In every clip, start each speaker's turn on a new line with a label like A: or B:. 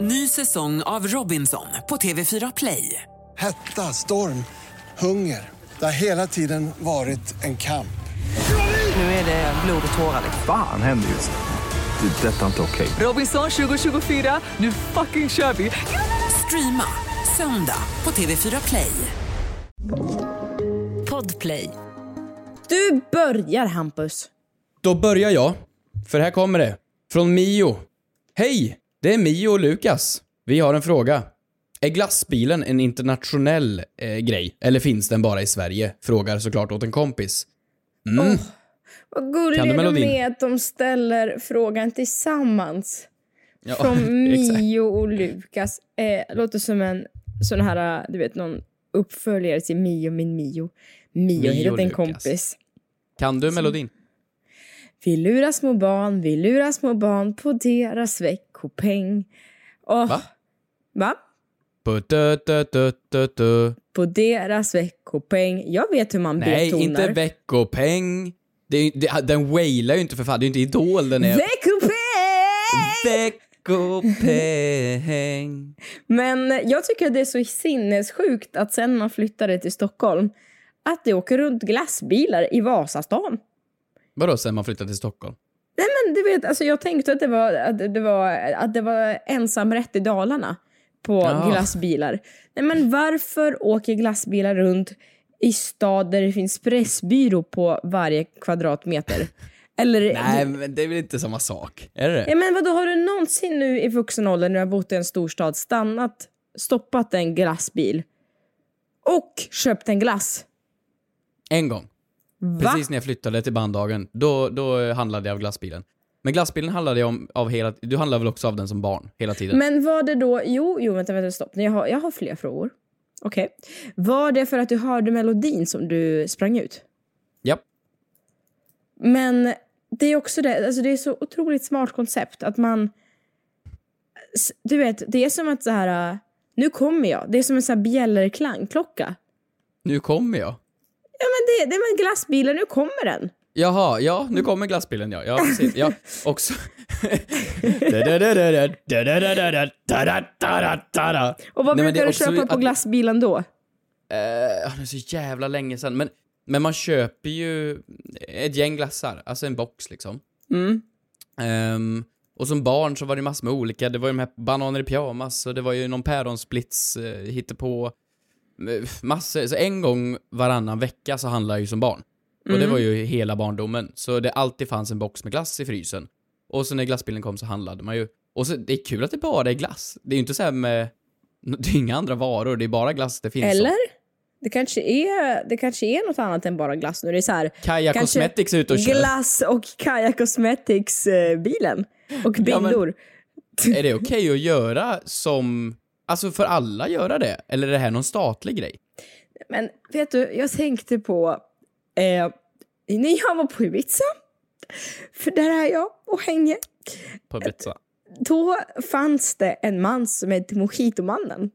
A: Ny säsong av Robinson på TV4 Play.
B: Hetta, storm, hunger. Det har hela tiden varit en kamp.
A: Nu är det blod och tårar. liksom.
C: Fan händer just nu. Det. är Detta är inte okej.
A: Robinson 2024, nu fucking kör vi! Streama söndag på TV4 Play. Podplay.
D: Du börjar Hampus.
E: Då börjar jag, för här kommer det. Från Mio. Hej! Det är Mio och Lukas. Vi har en fråga. Är glassbilen en internationell eh, grej? Eller finns den bara i Sverige? Frågar såklart åt en kompis. Mm.
D: Vad
E: Kan
D: gullig
E: du
D: är du
E: melodin?
D: med att de ställer frågan tillsammans.
E: Ja,
D: Från
E: exakt.
D: Mio och Lukas. Eh, låter som en sån här, du vet, någon uppföljare till Mio min Mio. Mio,
E: Mio
D: har hittat en
E: Lukas.
D: kompis.
E: Kan du melodin?
D: Vi lurar små barn, vi lurar små barn på deras veckopeng. Åh,
E: Va?
D: Va?
E: Putututututu.
D: På deras veckopeng. Jag vet hur man
E: Nej,
D: betonar.
E: inte veckopeng. Det, är ju- det, den wailar ju inte för fan. Det är ju inte Idol den är.
D: Veckopeng!
E: Veckopeng.
D: Men jag tycker att det är så sinnessjukt att sen man flyttade till Stockholm att det åker runt glassbilar i Vasastan.
E: Vadå sen man flyttade till Stockholm?
D: Nej men du vet, alltså jag tänkte att det var, att det var, att det var ensamrätt i Dalarna på
E: Ja.
D: glassbilar. Nej men varför åker glassbilar runt i stad där det finns pressbyrå på varje kvadratmeter? Eller,
E: Nej, men det är väl inte samma sak? Är det
D: Ja,
E: det?
D: men vadå, har du någonsin nu i vuxen ålder när du har bott i en storstad stannat, stoppat en glassbil och köpt en glass?
E: En gång.
D: Va?
E: Precis när jag flyttade till banddagen, då, då eh, handlade jag av glassbilen. Men glassbilen handlade jag om av hela... Du handlade väl också av den som barn, hela tiden?
D: Men var det då, jo, jo vänta, vänta, stopp. Jag har, jag har fler frågor. Okej. Var det för att du hörde melodin som du sprang ut?
E: Japp.
D: Men det är också det, alltså det är så otroligt smart koncept att man... s- Du vet, det är som att så här, äh, nu kommer jag. Det är som en så här bjällerklang, klocka.
E: Nu kommer jag.
D: Ja men det, det är med glassbilen, nu kommer den.
E: Jaha, ja,
D: Mm.
E: nu kommer glassbilen ja. Ja, precis. Ja, också.
D: Och vad
E: Nej, men det
D: brukar
E: är
D: du
E: också
D: köpa på
E: att-
D: glassbilen då?
E: Eh, det är så jävla länge sedan. Men, men man köper ju ett gäng glassar, alltså en box liksom.
D: Mm.
E: Ehm, och som barn så var det massor med olika. Det var ju de här bananer i pyjamas och det var ju någon päronsplits uh, hittepå. Eh, Massor. Så en gång varannan vecka så handlade jag ju som barn. Och
D: Mm.
E: det var ju hela barndomen. Så det alltid fanns en box med glass i frysen. Och så när glassbilen kom så handlade man ju. Och så, det är kul att det bara är glass. Det är ju inte så här med... Det är inga andra varor, det är bara glass det finns.
D: Eller? Det kanske, är, det kanske är något annat än bara glass nu. Det är så här,
E: Kaja
D: kanske
E: Cosmetics är ute och kör.
D: glass och Kaja Cosmetics-bilen. Och
E: Ja, men-
D: bindor.
E: Är det okej att göra som... Alltså, får alla göra det? Eller är det här någon statlig grej?
D: Men vet du, jag tänkte på eh, när jag var på Ibiza, för där är jag och hänger,
E: På Ibiza?
D: då fanns det en man som hette Mojitomannen.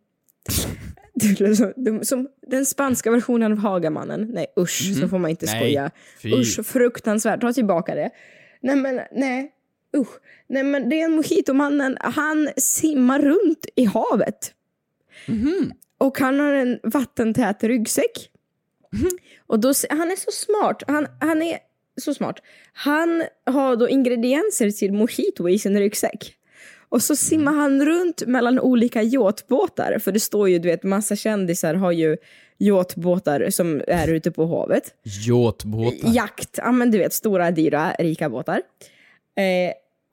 D: Det låter som- de- som den spanska versionen av Hagamannen. Nej usch, så får man inte
E: Mhm. Nej,
D: skoja.
E: fy.
D: Usch, fruktansvärt. Ta tillbaka det. Nej men, nej. Usch. Nej men det är mojitomannen. Han simmar runt i havet. Och han har en vattentät ryggsäck. Och då, se- han är så smart. Han, han är så smart. Han har då ingredienser till mojito i sin ryggsäck. Och så simmar han runt mellan olika yachtbåtar. För det står ju, du vet, massa kändisar har ju yachtbåtar som är ute på havet.
E: Yachtbåtar.
D: Jakt, ja men du vet stora, dyra, rika båtar. Eh,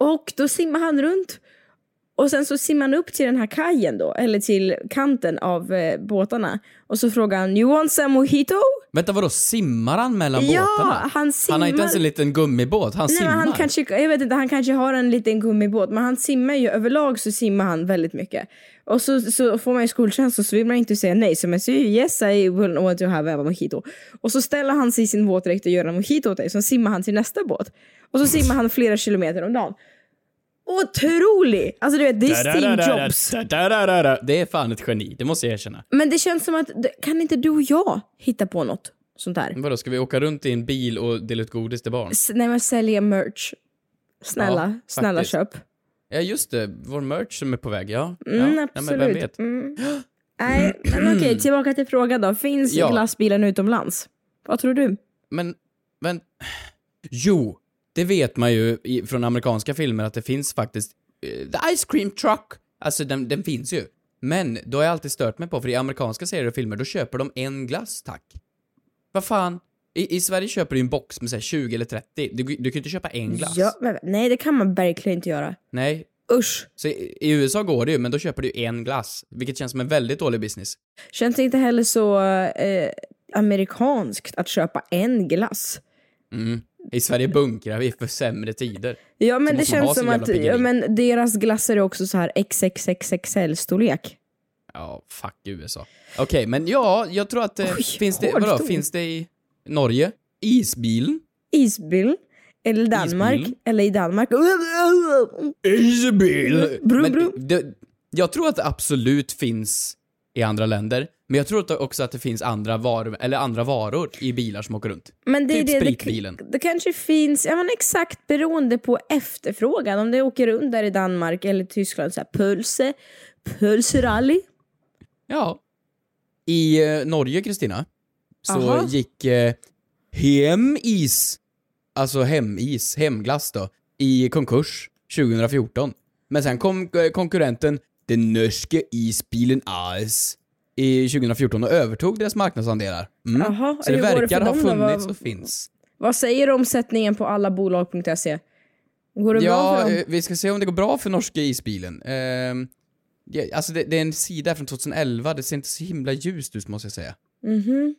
D: och då simmar han runt och sen så simmar han upp till den här kajen då, eller till kanten av eh, båtarna. Och så frågar han “You want some mojito?”
E: Vänta, vadå? Simmar han mellan
D: Ja,
E: båtarna?
D: han
E: Han har
D: simmar-
E: inte ens en liten gummibåt, han
D: Nej,
E: simmar.
D: men han kanske, jag vet inte, han kanske har en liten gummibåt men han simmar ju överlag så simmar han väldigt mycket. Och så, så får man ju skoltjänst så vill man inte säga nej så man säger ju, yes I will want to have a mojito. Och så ställer han sig i sin våtdräkt och gör en mojito åt dig så simmar han till nästa båt. Och så simmar han flera kilometer om dagen. Otrolig! Alltså du vet det är Steve Jobs.
E: Det är fan ett geni, det måste jag erkänna.
D: Men det känns som att kan inte du och jag hitta på något sånt där?
E: Vadå, ska vi åka runt i en bil och dela ut godis till barn?
D: S- nej men sälja merch. Snälla,
E: Ja,
D: snälla
E: faktiskt.
D: köp.
E: Ja, just det. Vår merch som är på väg, ja.
D: Mm,
E: ja. Nej,
D: absolut.
E: men vem vet?
D: Mm. Nej, men okej, tillbaka till frågan då. Finns
E: Mm. Ja.
D: glassbilen utomlands? Vad tror du?
E: Men, men... Jo, det vet man ju i, från amerikanska filmer att det finns faktiskt... eh, the Ice Cream Truck! Alltså, den, den finns ju. Men, då har jag alltid stört mig på, för i amerikanska serier och filmer, då köper de en glass, tack. Vad fan? I, I Sverige köper du ju en box med så här 20 eller 30. Du, du kan ju inte köpa en glass.
D: Ja, men, nej, det kan man verkligen inte göra.
E: Nej.
D: Usch.
E: Så i, i USA går det ju, men då köper du ju en glass. Vilket känns som en väldigt dålig business.
D: Känns inte heller så eh, amerikanskt att köpa en glass.
E: I Sverige bunkrar vi för sämre tider.
D: Ja,
E: Så
D: men det
E: måste man ha
D: känns
E: sin
D: som
E: jävla
D: att
E: piggeri.
D: ja, men deras glasser är också så här XXXXL-storlek.
E: Ja, fuck USA. Okej, men ja, jag tror att... Eh,
D: Oj,
E: finns, det,
D: hårt
E: vadå,
D: ord.
E: finns det i Norge? Isbilen?
D: Isbil. Eller Danmark.
E: Isbil.
D: Eller i Danmark.
E: Isbil!
D: Brum,
E: Eh, Men
D: brum.
E: det, jag tror att det absolut finns i andra länder, men jag tror att det också att det finns andra varor, eller andra varor i bilar som åker runt.
D: Men det, är
E: Typ
D: det,
E: spritbilen.
D: Det, det kanske finns, ja men exakt beroende på efterfrågan. Om det åker runt där i Danmark eller Tyskland, så här pulse, pulserally.
E: Ja. I eh, Norge, Kristina, så
D: Aha.
E: gick eh, Hemis, alltså Hemis, Hemglass då, i konkurs 2014. Men sen kom eh, konkurrenten Den Norske Isbilen AS i 2014 och övertog deras marknadsandelar. Mm.
D: Jaha,
E: så det
D: hur går det
E: verkar
D: för
E: ha
D: dem då? Vad-
E: funnits och finns.
D: Vad säger omsättningen på allabolag.se? Går det bra
E: Ja,
D: för dem?
E: eh, vi ska se om det går bra för norska isbilen. Ehm, ja, alltså det, det är en sida från 2011, det ser inte så himla ljust ut måste jag säga.
D: Mhm.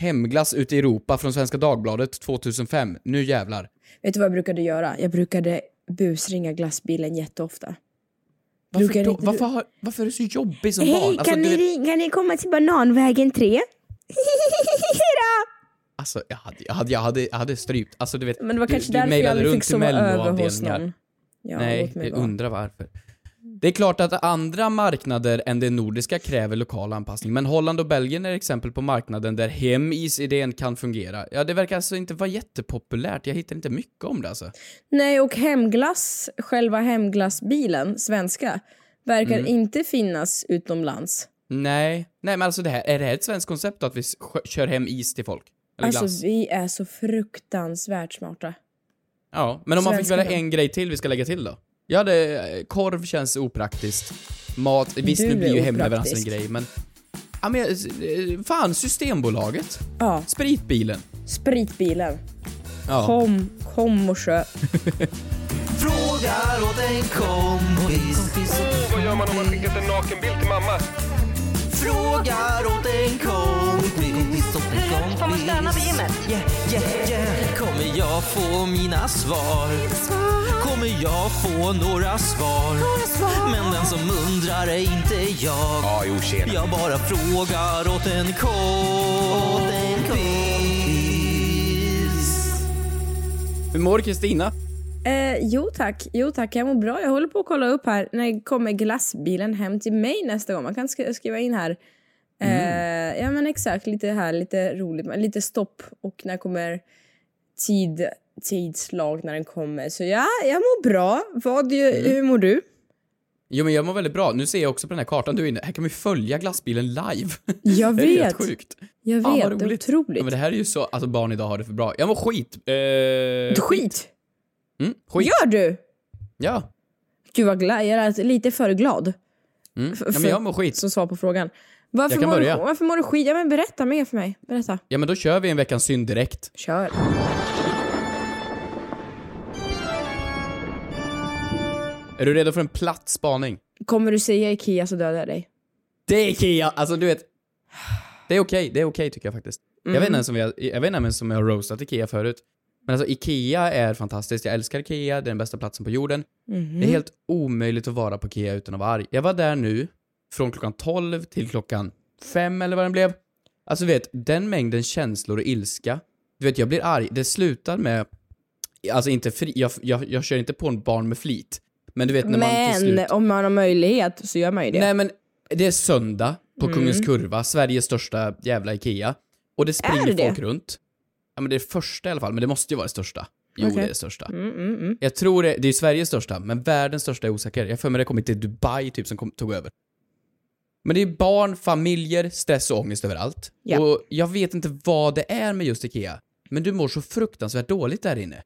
E: Hemglass ute i Europa från Svenska Dagbladet 2005. Nu jävlar.
D: Vet du vad jag brukade göra? Jag brukade busringa glassbilen jätteofta.
E: Varför,
D: Brukar
E: då,
D: inte du-
E: varför, har, varför är du så jobbig som barn?
D: Hej,
E: Alltså,
D: kan,
E: du
D: ni,
E: vet-
D: ring- kan ni komma till Bananvägen 3?
E: alltså jag hade, jag hade, jag hade, jag hade strypt. Alltså du vet,
D: Men det var
E: du-
D: kanske
E: du
D: därför jag
E: mejlade
D: aldrig
E: runt
D: fick
E: till
D: sova över hos
E: melloavdelningar.
D: någon. Ja,
E: Nej,
D: låt mig
E: jag
D: vara.
E: undrar varför. Det är klart att andra marknader än den nordiska kräver lokal anpassning, men Holland och Belgien är exempel på marknaden där hemis-idén kan fungera. Ja, det verkar alltså inte vara jättepopulärt. Jag hittar inte mycket om det alltså.
D: Nej, och hemglass, själva hemglassbilen, svenska, verkar
E: Mm.
D: inte finnas utomlands.
E: Nej. Nej, men alltså det här, är det här ett svenskt koncept då, att vi s- skö- kör hem is till folk? Eller glass?
D: Alltså, vi är så fruktansvärt smarta.
E: Ja, men om man fick
D: Svenska
E: välja
D: då?
E: en grej till vi ska lägga till då? Ja, det, eh, korv känns opraktiskt. Mat, visst
D: Du
E: nu blir ju
D: är
E: hemleverans en
D: opraktisk.
E: grej, men... Ja, men eh, fan, Systembolaget.
D: Ja,
E: Spritbilen.
D: spritbilen.
E: Ja.
D: Kom, kom och köp.
F: Frågar åt en kompis.
G: Vad gör man om man skickat en nakenbild till mamma?
F: Frågar åt en kompis. Åt en kompis.
H: Får man stanna vid gymmet?
F: Yeah, yeah, yeah. Kommer jag få mina svar? Kommer jag få några svar? Men den som undrar är inte jag.
G: Ja, jo, tjena.
F: Jag bara frågar åt en kompis.
E: Hur mår Kristina?
D: Eh, jo tack, jo tack, jag mår bra. Jag håller på att kolla upp här. När kommer glassbilen hem till mig nästa gång? Man kan sk- skriva in här. Eh,
E: Mm.
D: Ja men exakt, lite här, lite roligt, men lite stopp och när kommer tid, tidslag när den kommer. Så ja, jag mår bra. Vad, eh,
E: Mm.
D: Hur mår du?
E: Jo men jag mår väldigt bra. Nu ser jag också på den här kartan du är inne. Här kan vi följa glassbilen live.
D: Jag
E: det är helt
D: vet,
E: sjukt.
D: jag vet,
E: Fan, vad
D: det är
E: roligt.
D: otroligt.
E: Ja, men det här är ju så, alltså barn idag har det för bra. Jag mår skit. Eh,
D: Skit!
E: mm, skit. Ja.
D: Gör du?
E: ja.
D: Gud vad glad, jag lät lite för glad
E: Mm.
D: F-
E: ja men
D: för-
E: jag mår skit.
D: som svar på frågan. Varför,
E: Jag kan
D: mår, du,
E: börja.
D: varför mår du skit? Ja men berätta mer för mig, berätta.
E: Ja men då kör vi en veckans synd direkt.
D: Kör.
E: Är du redo för en platt spaning?
D: Kommer du säga Ikea så dödar jag dig.
E: Det är Ikea! Alltså du vet. Det är okej, det är okej tycker jag faktiskt. Jag vet inte ens om jag, jag, vet inte ens om jag har roastat Ikea förut. Men alltså Ikea är fantastiskt, jag älskar Ikea, det är den bästa platsen på jorden. Det är helt omöjligt att vara på Ikea utan att vara arg. Jag var där nu, från klockan 12 till klockan 5 eller vad den blev. Alltså du vet, den mängden känslor och ilska. Du vet, jag blir arg. Det slutar med, alltså inte fri, jag, jag, jag kör inte på en barn med flit. Men du vet när man till slut...
D: Men om man har möjlighet så gör man ju det.
E: Nej men det är söndag på
D: Mm.
E: Kungens Kurva, Sveriges största jävla IKEA. Och det springer
D: det det?
E: folk runt. Ja men det är det första i alla fall, men det måste ju vara det största.
D: Okej.
E: Jo,
D: Mm,
E: det är det största. Jag tror det, det är Sveriges största, men världens största är osäker. Jag har för mig det kommit till Dubai typ som kom, tog över. Men det är barn, familjer, stress och ångest överallt.
D: Ja.
E: Och jag vet inte vad det är med just IKEA, men du mår så fruktansvärt dåligt där inne.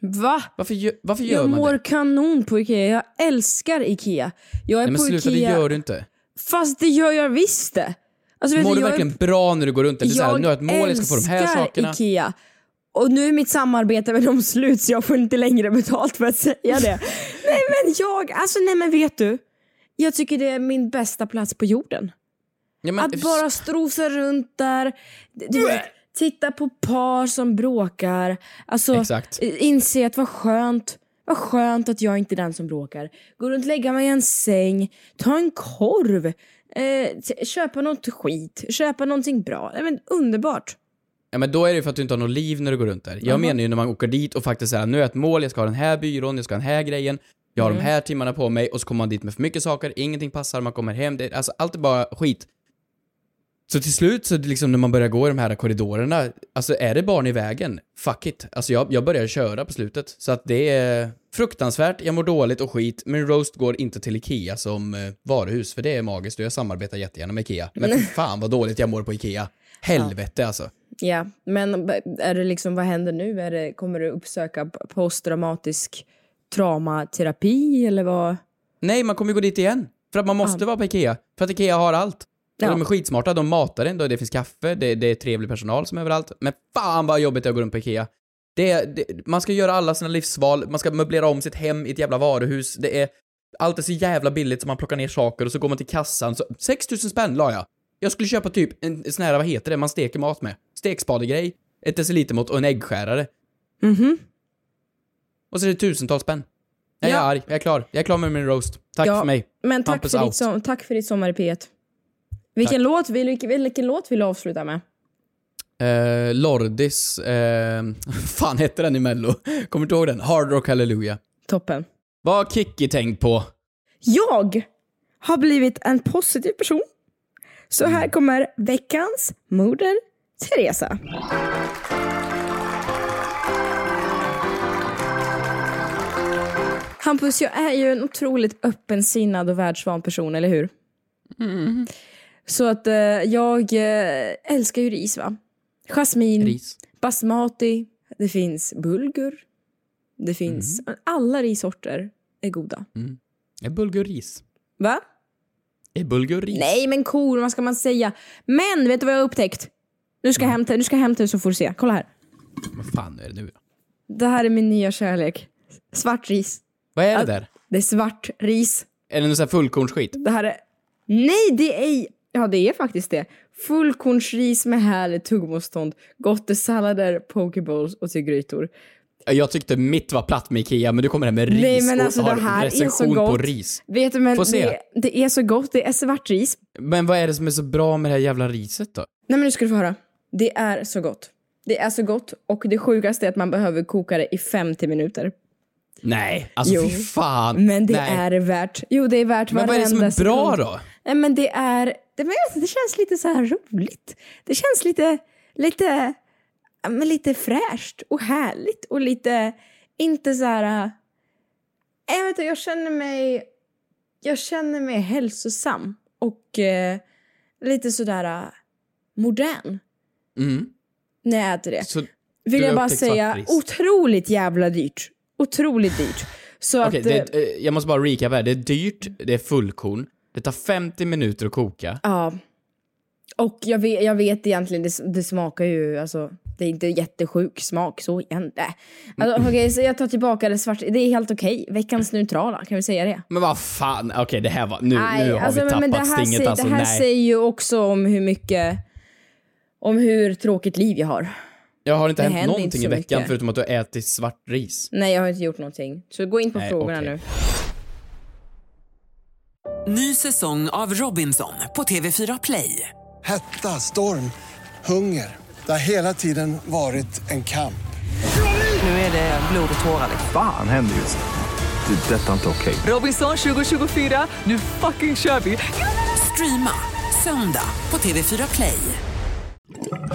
D: Va?
E: Varför, gö, varför gör
D: Jag
E: man
D: mår
E: det?
D: kanon på Ikea. Jag älskar Ikea. Jag är
E: Nej men
D: på
E: sluta,
D: Ikea.
E: det gör du inte.
D: Fast det gör jag visst det. Alltså, vet
E: Mår du
D: jag är-
E: verkligen bra när du går runt? Eller så här,
D: Jag
E: nu har jag ett mål, jag ska få de här
D: älskar
E: sakerna.
D: Ikea. Och nu är mitt samarbete med dem slut så jag får inte längre betalt för att säga det. nej men jag, alltså nej men vet du. Jag tycker det är min bästa plats på jorden.
E: Ja, men,
D: Att bara strosa runt där, du vet, titta på par som bråkar. Alltså
E: Exakt.
D: inse att vad skönt, vad skönt att jag inte är den som bråkar. Gå runt, lägga mig i en säng, ta en korv, eh, t- köpa något skit, köpa någonting bra. Nej, men underbart.
E: Ja men då är det ju för att du inte har något liv när du går runt där. Jag menar ju när man åker dit och faktiskt säger nu är ett mål, jag ska ha den här byrån, jag ska ha den här grejen, jag har de här timmarna på mig och så kommer man dit med för mycket saker, ingenting passar, man kommer hem, det, alltså allt är bara skit. Så till slut så är det liksom när man börjar gå i de här korridorerna, alltså är det barn i vägen, fuck it. Alltså jag, jag börjar köra på slutet. Så att det är fruktansvärt, jag mår dåligt och skit, men roast går inte till Ikea som eh, varuhus, för det är magiskt och jag samarbetar jättegärna med Ikea. Men fy fan vad dåligt jag mår på Ikea. Helvete alltså.
D: Ja, men b- är det liksom, vad händer nu? Är det, kommer du uppsöka p- posttraumatisk traumaterapi eller vad?
E: Nej, man kommer ju gå dit igen. För att man måste vara på IKEA. För att IKEA har allt.
D: Ja.
E: Och de är skitsmarta, de matar en, då det finns kaffe, det, det är trevlig personal som är överallt. Men fan vad jobbigt det är att gå runt på IKEA. Det, det, man ska göra alla sina livsval, man ska möblera om sitt hem i ett jävla varuhus. Det är, allt är så jävla billigt så man plockar ner saker och så går man till kassan. Så, 6 000 spänn la jag. Jag skulle köpa typ en sån här, vad heter det, man steker mat med. Stekspadegrej, ett decilitermått och en äggskärare.
D: Mhm.
E: Och så är det tusentals spänn. Jag är
D: Ja.
E: arg, jag är klar. Jag är klar med min roast. Tack
D: Ja,
E: för mig.
D: Men tack
E: Hampus
D: för, ditt
E: out.
D: som, tack för ditt sommar i P1. Vilken låt, vill, vilken, vilken låt vill du avsluta med?
E: Eh, Lordis, eh, fan hette den i mello? Kommer du ihåg den? Hard Rock Hallelujah.
D: Toppen.
E: Vad har Kikki tänkt på?
D: Jag har blivit en positiv person. Så
E: Mm.
D: här kommer veckans moder Teresa. Hampus, jag är ju en otroligt öppensinnad och världsvan person, eller hur?
E: Mm.
D: Så att eh, jag eh, älskar ju ris, va? Jasmin,
E: Ris.
D: basmati, det finns bulgur, det finns... Alla rissorter är goda.
E: Är bulgur ris?
D: Va?
E: Är bulgur ris?
D: Nej men kor, vad ska man säga? Men vet du vad jag har upptäckt? Nu ska jag hämta, nu ska jag hämta det så får du se. Kolla här.
E: Vad fan är det nu då?
D: Det här är min nya kärlek. Svart ris.
E: Vad är det där?
D: Det är svart ris.
E: Är det någon sån här fullkornsskit?
D: Det här är... Nej, det är ej- Ja, det är faktiskt det. Fullkornsris med härligt tuggmotstånd, gottessallader, pokeballs och till grytor.
E: Jag tyckte mitt var platt med Ikea, men du kommer här med ris
D: Nej, men
E: och
D: alltså,
E: har
D: det här är så
E: recension på
D: gott.
E: ris.
D: Vet du, men
E: Får se.
D: det, det är så gott. Det är svart ris.
E: Men vad är det som är så bra med det här jävla riset då?
D: Nej men nu ska du få höra. Det är så gott. Det är så gott och det sjukaste är att man behöver koka det i 50 minuter.
E: Nej, alltså
D: Jo.
E: fy fan.
D: Men det
E: Nej.
D: är det värt. Jo, det är värt
E: Men vad är det som
D: varenda
E: är bra
D: sekund.
E: då?
D: Nej, men det är... Det, men alltså, det känns lite så här roligt. Det känns lite... Lite, ja, men lite fräscht och härligt och lite... Inte så här... äh, Jag vet inte, jag känner mig... Jag känner mig hälsosam och eh, lite sådär äh, modern
E: Mm.
D: när jag äter det
E: Så, Okej,
D: vill
E: Du har
D: jag bara
E: upptäckt
D: säga,
E: svartris.
D: otroligt jävla dyrt. Otroligt dyrt. Så att... eh,
E: det, eh, jag måste bara recapa här. Det är dyrt, det är fullkorn, det tar 50 minuter att koka.
D: Ja. Och jag vet, jag vet egentligen, det, det smakar ju, alltså, det är inte jättesjuk smak så igen. Äh. Alltså,
E: Mm.
D: okej, så jag tar tillbaka det svarta, det är helt okej. Veckans neutrala, kan vi säga det?
E: Men vad fan, okej det här var, nu, nu har
D: alltså,
E: vi tappat
D: men det här,
E: stinget
D: säger,
E: alltså,
D: det här
E: nej.
D: säger ju också om hur mycket, om hur tråkigt liv jag har.
E: jag har inte
D: det
E: hänt
D: händer
E: någonting
D: inte
E: i
D: så
E: veckan
D: mycket.
E: förutom att du har ätit svart ris.
D: Nej, jag har inte gjort någonting. Så gå in på
E: Nej,
D: frågorna
E: okej.
D: nu.
A: Ny säsong av Robinson på TV4 Play.
B: Hetta, storm, hunger. Det har hela tiden varit en kamp.
A: Nu är det blod och tårar.
C: Fan händer just nu. Det. är Detta är inte okej.
A: Robinson 2024, nu fucking kör vi! Streama söndag på TV4 Play.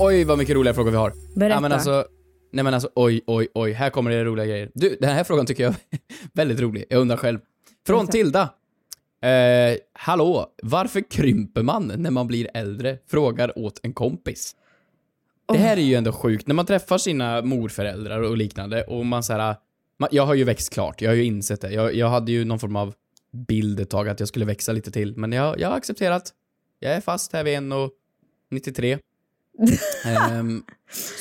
E: Oj vad mycket roliga frågor vi har.
D: Berätta.
E: Ja, men alltså, nej men alltså oj, oj, oj. Här kommer det roliga grejer. Du, den här frågan tycker jag är väldigt rolig. Jag undrar själv. Från Tilda. Eh, hallå, varför krymper man när man blir äldre? Frågar åt en kompis. Det här är ju ändå sjukt. När man träffar sina morföräldrar och liknande och man så här, man, Jag har ju växt klart, jag har ju insett det. Jag, jag hade ju någon form av bild ett tag att jag skulle växa lite till, men jag, jag har accepterat. Jag är fast här vid 1,93. Ehm,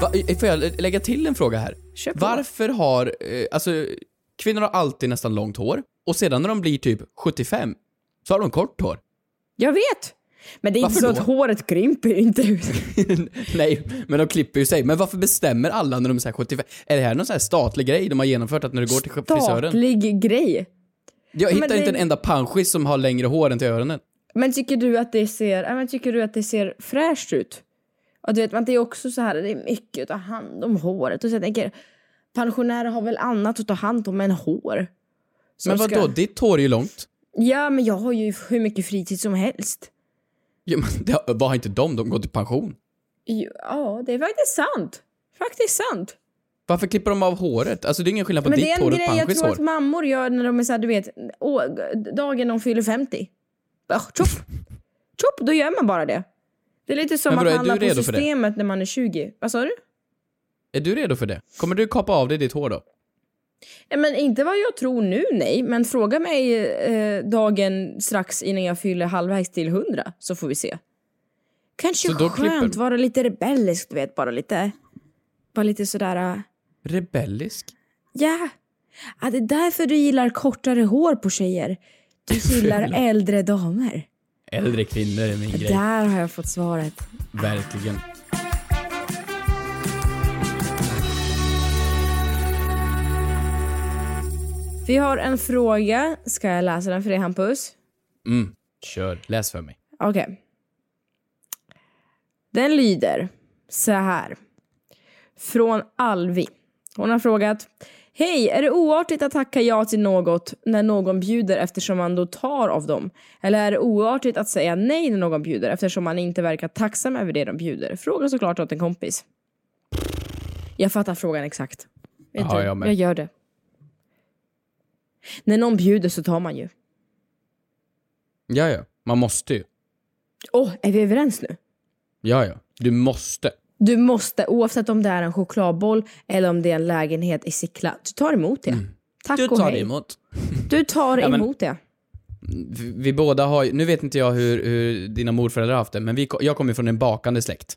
E: Va, eh, får jag lägga till en fråga här? Varför har, eh, alltså, kvinnor har alltid nästan långt hår och sedan när de blir typ 75 så har de kort hår.
D: Jag vet! Men det är
E: Varför
D: inte så
E: då?
D: att håret krymper ju inte ut.
E: Nej, men de klipper ju sig. Men varför bestämmer alla när de är så här 75? Är det här någon så här statlig grej de har genomfört att när du går till frisören?
D: Statlig grej.
E: Jag
D: Men
E: hittar
D: det-
E: inte en enda panschis som har längre hår än till öronen.
D: Men tycker du att det ser, ja, men tycker du att det ser fräscht ut? Och du vet, man, det är också så här, det är mycket att ta hand om håret. Och så jag tänker, pensionärer har väl annat att ta hand om än hår? Som
E: Men vadå,
D: ska-
E: ditt hår är ju långt.
D: Ja, men jag har ju hur mycket fritid som helst.
E: Ja, men det, vad har inte de? De går till pension.
D: Ja, det är faktiskt sant. Faktiskt sant.
E: Varför klipper de av håret? Alltså det är ingen skillnad på
D: Men
E: ditt
D: det är en
E: hår och
D: grej jag
E: panschis
D: tror
E: hår.
D: att mammor gör när de är såhär, du vet, å, dagen de fyller 50. Bara, Tjopp! Tjopp, då gör man bara det. Det är lite som
E: Men vadå,
D: att
E: är
D: handla
E: du
D: på
E: redo för det?
D: systemet när man är 20. Vad sa du?
E: Är du redo för det? Kommer du kapa av dig ditt hår då?
D: Nej, men inte vad jag tror nu, nej. Men fråga mig eh, dagen strax innan jag fyller halvvägs till 100, så får vi se. Kanske
E: Så då klipper
D: skönt
E: du?
D: vara lite rebellisk, du vet. Bara lite, bara lite sådär... eh,
E: Rebellisk?
D: Ja. ja, det är därför du gillar kortare hår på tjejer. Du gillar
E: Fula.
D: äldre damer.
E: Äldre kvinnor är min grej.
D: Där har jag fått svaret.
E: Verkligen.
D: Vi har en fråga. Ska jag läsa den för dig, Hampus?
E: Mm. Kör, läs för mig.
D: Okej. Den lyder så här. Från Alvi. Hon har frågat. Hej, är det oartigt att tacka ja till något när någon bjuder eftersom man då tar av dem? Eller är det oartigt att säga nej när någon bjuder eftersom man inte verkar tacksam över det de bjuder? Fråga såklart åt en kompis. Jag fattar frågan exakt. Vet
E: Ja,
D: du?
E: jag med.
D: jag gör det. När någon bjuder så tar man ju.
E: Ja, ja. Man måste ju.
D: Åh, är vi överens nu?
E: Ja, ja. Du måste.
D: Du måste, oavsett om det är en chokladboll eller om det är en lägenhet i Sickla, du tar emot det. Tack
E: Mm. Du
D: och
E: tar
D: hej.
E: det emot.
D: Du tar
E: Ja, men-
D: emot det.
E: Vi, vi båda har ju- Nu vet inte jag hur, hur dina morföräldrar har haft det, men vi, ko- jag kommer ju från en bakande släkt.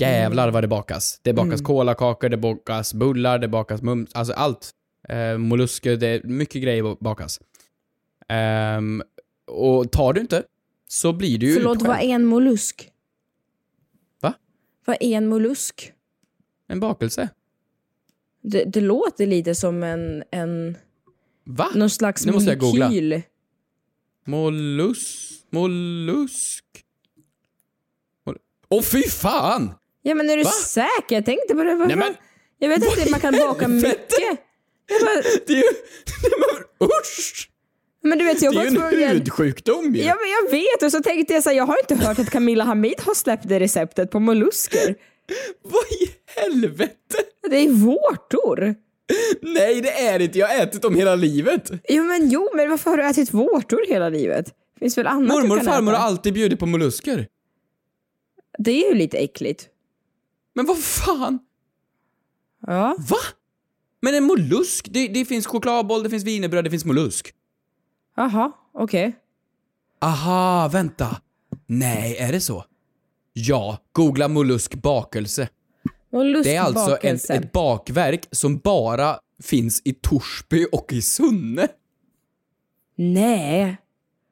D: Mm.
E: Jävlar vad det bakas. Det bakas
I: Mm.
E: kolakakor, det bakas bullar, det bakas mums, alltså allt. Eh, mollusker, det är mycket grejer ba- bakas. Ehm, och tar du inte, så blir du ju
D: Förlåt,
E: utskälld.
D: vad är en mollusk?
E: Va?
D: Vad är en mollusk?
E: En bakelse.
D: Det, det låter lite som en... en
E: Va?
D: Någon slags
E: Nu måste jag googla.
D: molekyl.
E: Mollus... Mollusk... Moll- Åh fy fan!
D: Ja men är du
E: Va?
D: säker? Jag tänkte på det. Varför?
E: Nej, men-
D: Jag vet
E: Vad
D: att det-
E: i
D: man kan baka
E: helvete?
D: mycket. Jag bara...
E: Det är ju... Men usch!
D: Men du vet, jag
E: det är
D: var
E: ju en
D: tvungen-
E: hudsjukdom ju.
D: Ja men jag vet och så tänkte jag så här, jag har inte hört att Camilla Hamid har släppt det receptet på mollusker.
E: Helvete!
D: Det är vårtor.
E: Nej det är det inte, jag har ätit dem hela livet.
D: Jo men jo, men varför har du ätit vårtor hela livet? Finns väl annat
E: Mormor
D: du
E: och
D: kan
E: farmor
D: äta?
E: har alltid bjudit på mollusker.
D: Det är ju lite äckligt.
E: Men vad fan?
D: Ja.
E: Va? Men en mollusk, det, det finns chokladboll, det finns wienerbröd, det finns mollusk.
D: Jaha, okej.
E: Aha, vänta. Nej, är det så? Ja, googla mollusk bakelse.
D: Mollusk
E: Det är alltså en,
D: bakelse.
E: ett bakverk som bara finns i Torsby och i Sunne.
D: Nej.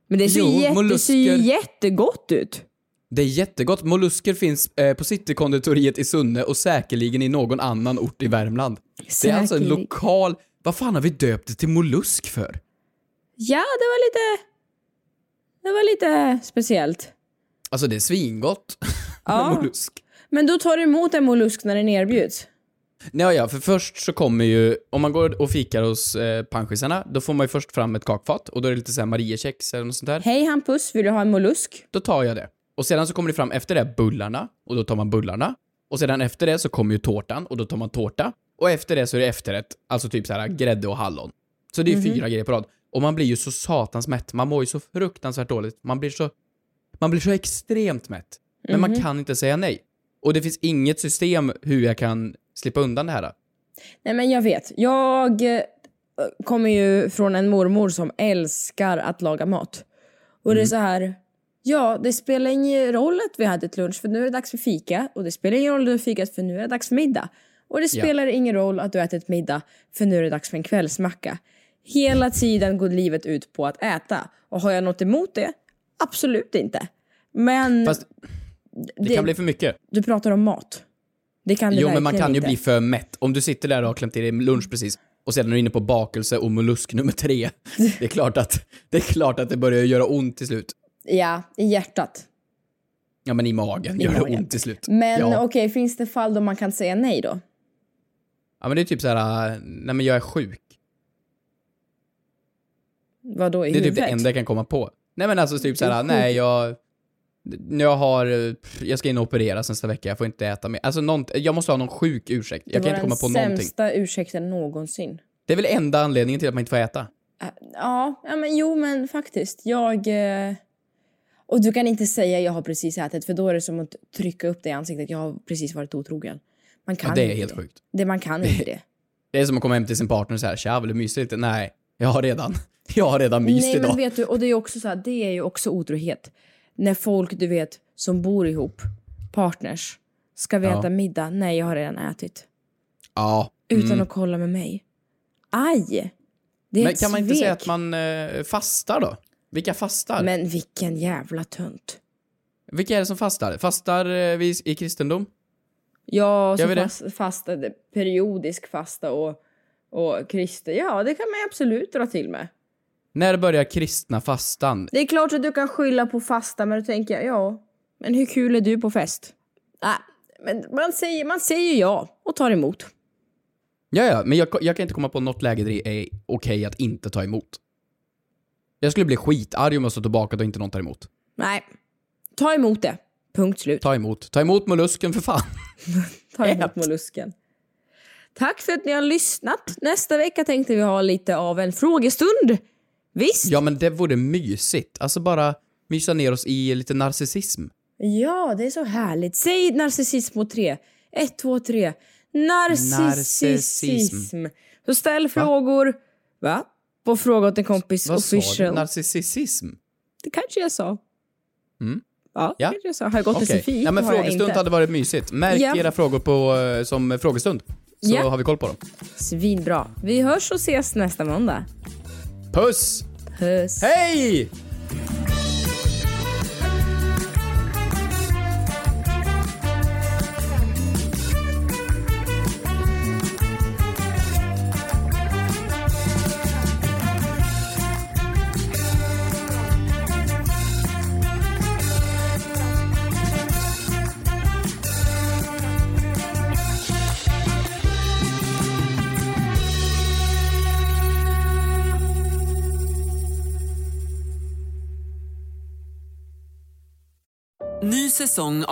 D: Men det ser,
E: Jo,
D: ju jätte, det ser ju
E: mollusker.
D: jättegott ut.
E: Det är jättegott. Mollusker finns eh, på Citykonditoriet i Sunne och säkerligen i någon annan ort i Värmland. Det är alltså en
D: Säkerligen.
E: lokal... Vad fan har vi döpt det till mollusk för?
D: Ja, det var lite... Det var lite speciellt.
E: Alltså det är svingott.
D: Ja.
E: med mollusk.
D: Men då tar du emot en mollusk när den erbjuds?
E: Nej, ja, för först så kommer ju, om man går och fikar hos eh, panschisarna, då får man ju först fram ett kakfat och då är det lite såhär Mariekex eller något sånt där.
D: Hej Hampus, vill du ha en mollusk?
E: Då tar jag det. Och sedan så kommer det fram efter det bullarna och då tar man bullarna. Och sedan efter det så kommer ju tårtan och då tar man tårta. Och efter det så är det efterrätt, alltså typ så här grädde och hallon. Så det är ju
I: Mhm.
E: fyra grejer på rad. Och man blir ju så satans mätt, man mår ju så fruktansvärt dåligt. Man blir så, man blir så extremt mätt. Men man
D: Mhm.
E: kan inte säga nej. Och det finns inget system hur jag kan slippa undan det här.
D: Nej men jag vet. Jag eh, kommer ju från en mormor som älskar att laga mat. Och
E: Mm.
D: det är så här. Ja, det spelar ingen roll att vi hade ett lunch för nu är det dags för fika. Och det spelar ingen roll att du har fikat för nu är det dags för middag. Och det
J: Ja.
D: spelar ingen roll att du har ätit middag för nu är det dags för en kvällsmacka. Hela tiden går livet ut på att äta. Och har jag något emot det? Absolut inte. Men
E: Fast det,
D: Mm. Det-
E: kan bli för mycket.
D: du pratar om mat. Det kan det
E: Jo, men man
D: verkligen
E: kan ju
D: inte.
E: bli för mätt. Om du sitter där och har klämt i dig lunch precis och sedan är du inne på bakelse och mollusk nummer tre. Det är klart att det, är klart att det börjar göra ont till slut.
D: Ja, i hjärtat.
E: Ja, men i magen
D: I
E: gör det
D: magen.
E: ont till slut.
D: Men
E: ja.
D: okej, finns det fall då man kan säga nej då?
E: ja, men det är typ så här, äh, nej men jag är sjuk.
D: Vad då i
E: Det är typ
D: huvudet?
E: det enda jag kan komma på. Nej, men alltså typ så här, nej jag... Jag har, eh, jag ska in och opereras nästa vecka, jag får inte äta mer. Alltså nånt, jag måste ha någon sjuk ursäkt. Jag
D: det
E: kan
D: var
E: inte komma på
D: den
E: någonting.
D: sämsta ursäkten någonsin.
E: Det är väl enda anledningen till att man inte får äta.
D: Ja, ja men jo men faktiskt. Jag... eh, Och du kan inte säga jag har precis ätit för då är det som att trycka upp det i ansiktet. Jag har precis varit otrogen. Man kan
E: Ja, det är
D: inte
E: helt
D: det.
E: sjukt.
D: Det, man kan inte det.
E: Det är som att komma hem till sin partner och säga “tja, vill du mysa lite?” Nej, jag har redan, jag har redan myst
D: Nej,
E: idag.
D: men vet du, och det är ju också så här, det är ju också otrohet. När folk, du vet, som bor ihop, partners, ska vi
E: Ja.
D: äta middag? Nej, jag har redan ätit.
E: Ja.
D: Utan
E: mm.
D: att kolla med mig. Aj! Det är
E: Men
D: ett
E: kan man inte
D: svek.
E: säga att man eh, fastar då? Vilka fastar?
D: Men vilken jävla tönt.
E: Vilka är det som fastar? Fastar eh, vi i kristendom?
D: Ja,
E: Gör
D: så
E: vi det?
D: fast, fastade, periodisk fasta och, och kristen. Ja, det kan man ju absolut dra till med.
E: När börjar kristna fastan?
D: Det är klart att du kan skylla på fasta, men då tänker jag, ja, men hur kul är du på fest? Nej, men man, säger, man säger ja och tar emot.
E: Ja, ja, men jag, jag kan inte komma på något läge där det är okej att inte ta emot. Jag skulle bli skitarg om jag står tillbaka och inte någon tar emot.
D: Nej, ta emot det. Punkt slut.
E: Ta emot. Ta emot mollusken för fan.
D: Ta emot mollusken. Tack för att ni har lyssnat. Nästa vecka tänkte vi ha lite av en frågestund. Visst?
E: Ja, men det vore mysigt. Alltså bara mysa ner oss i lite narcissism.
D: Ja, det är så härligt. Säg narcissism på tre. Ett, två, tre. Narcissism.
E: Narcissism.
D: Så ställ frågor. Va? På Fråga åt en kompis
E: Vad sa du?
D: official.
E: Narcissism?
D: Det kanske jag sa.
E: Mm.
D: Ja, kanske jag sa. Har jag gått
E: Okej.
D: till SFI?
E: Ja, men
D: Har jag
E: frågestund
D: inte.
E: hade varit mysigt. Märk
D: Ja.
E: era frågor på, eh, som frågestund, så
D: Ja.
E: har vi koll på dem.
D: Svinbra. Vi hörs och ses nästa måndag.
E: Puss!
D: Puss.
E: Hej!
A: Ny säsong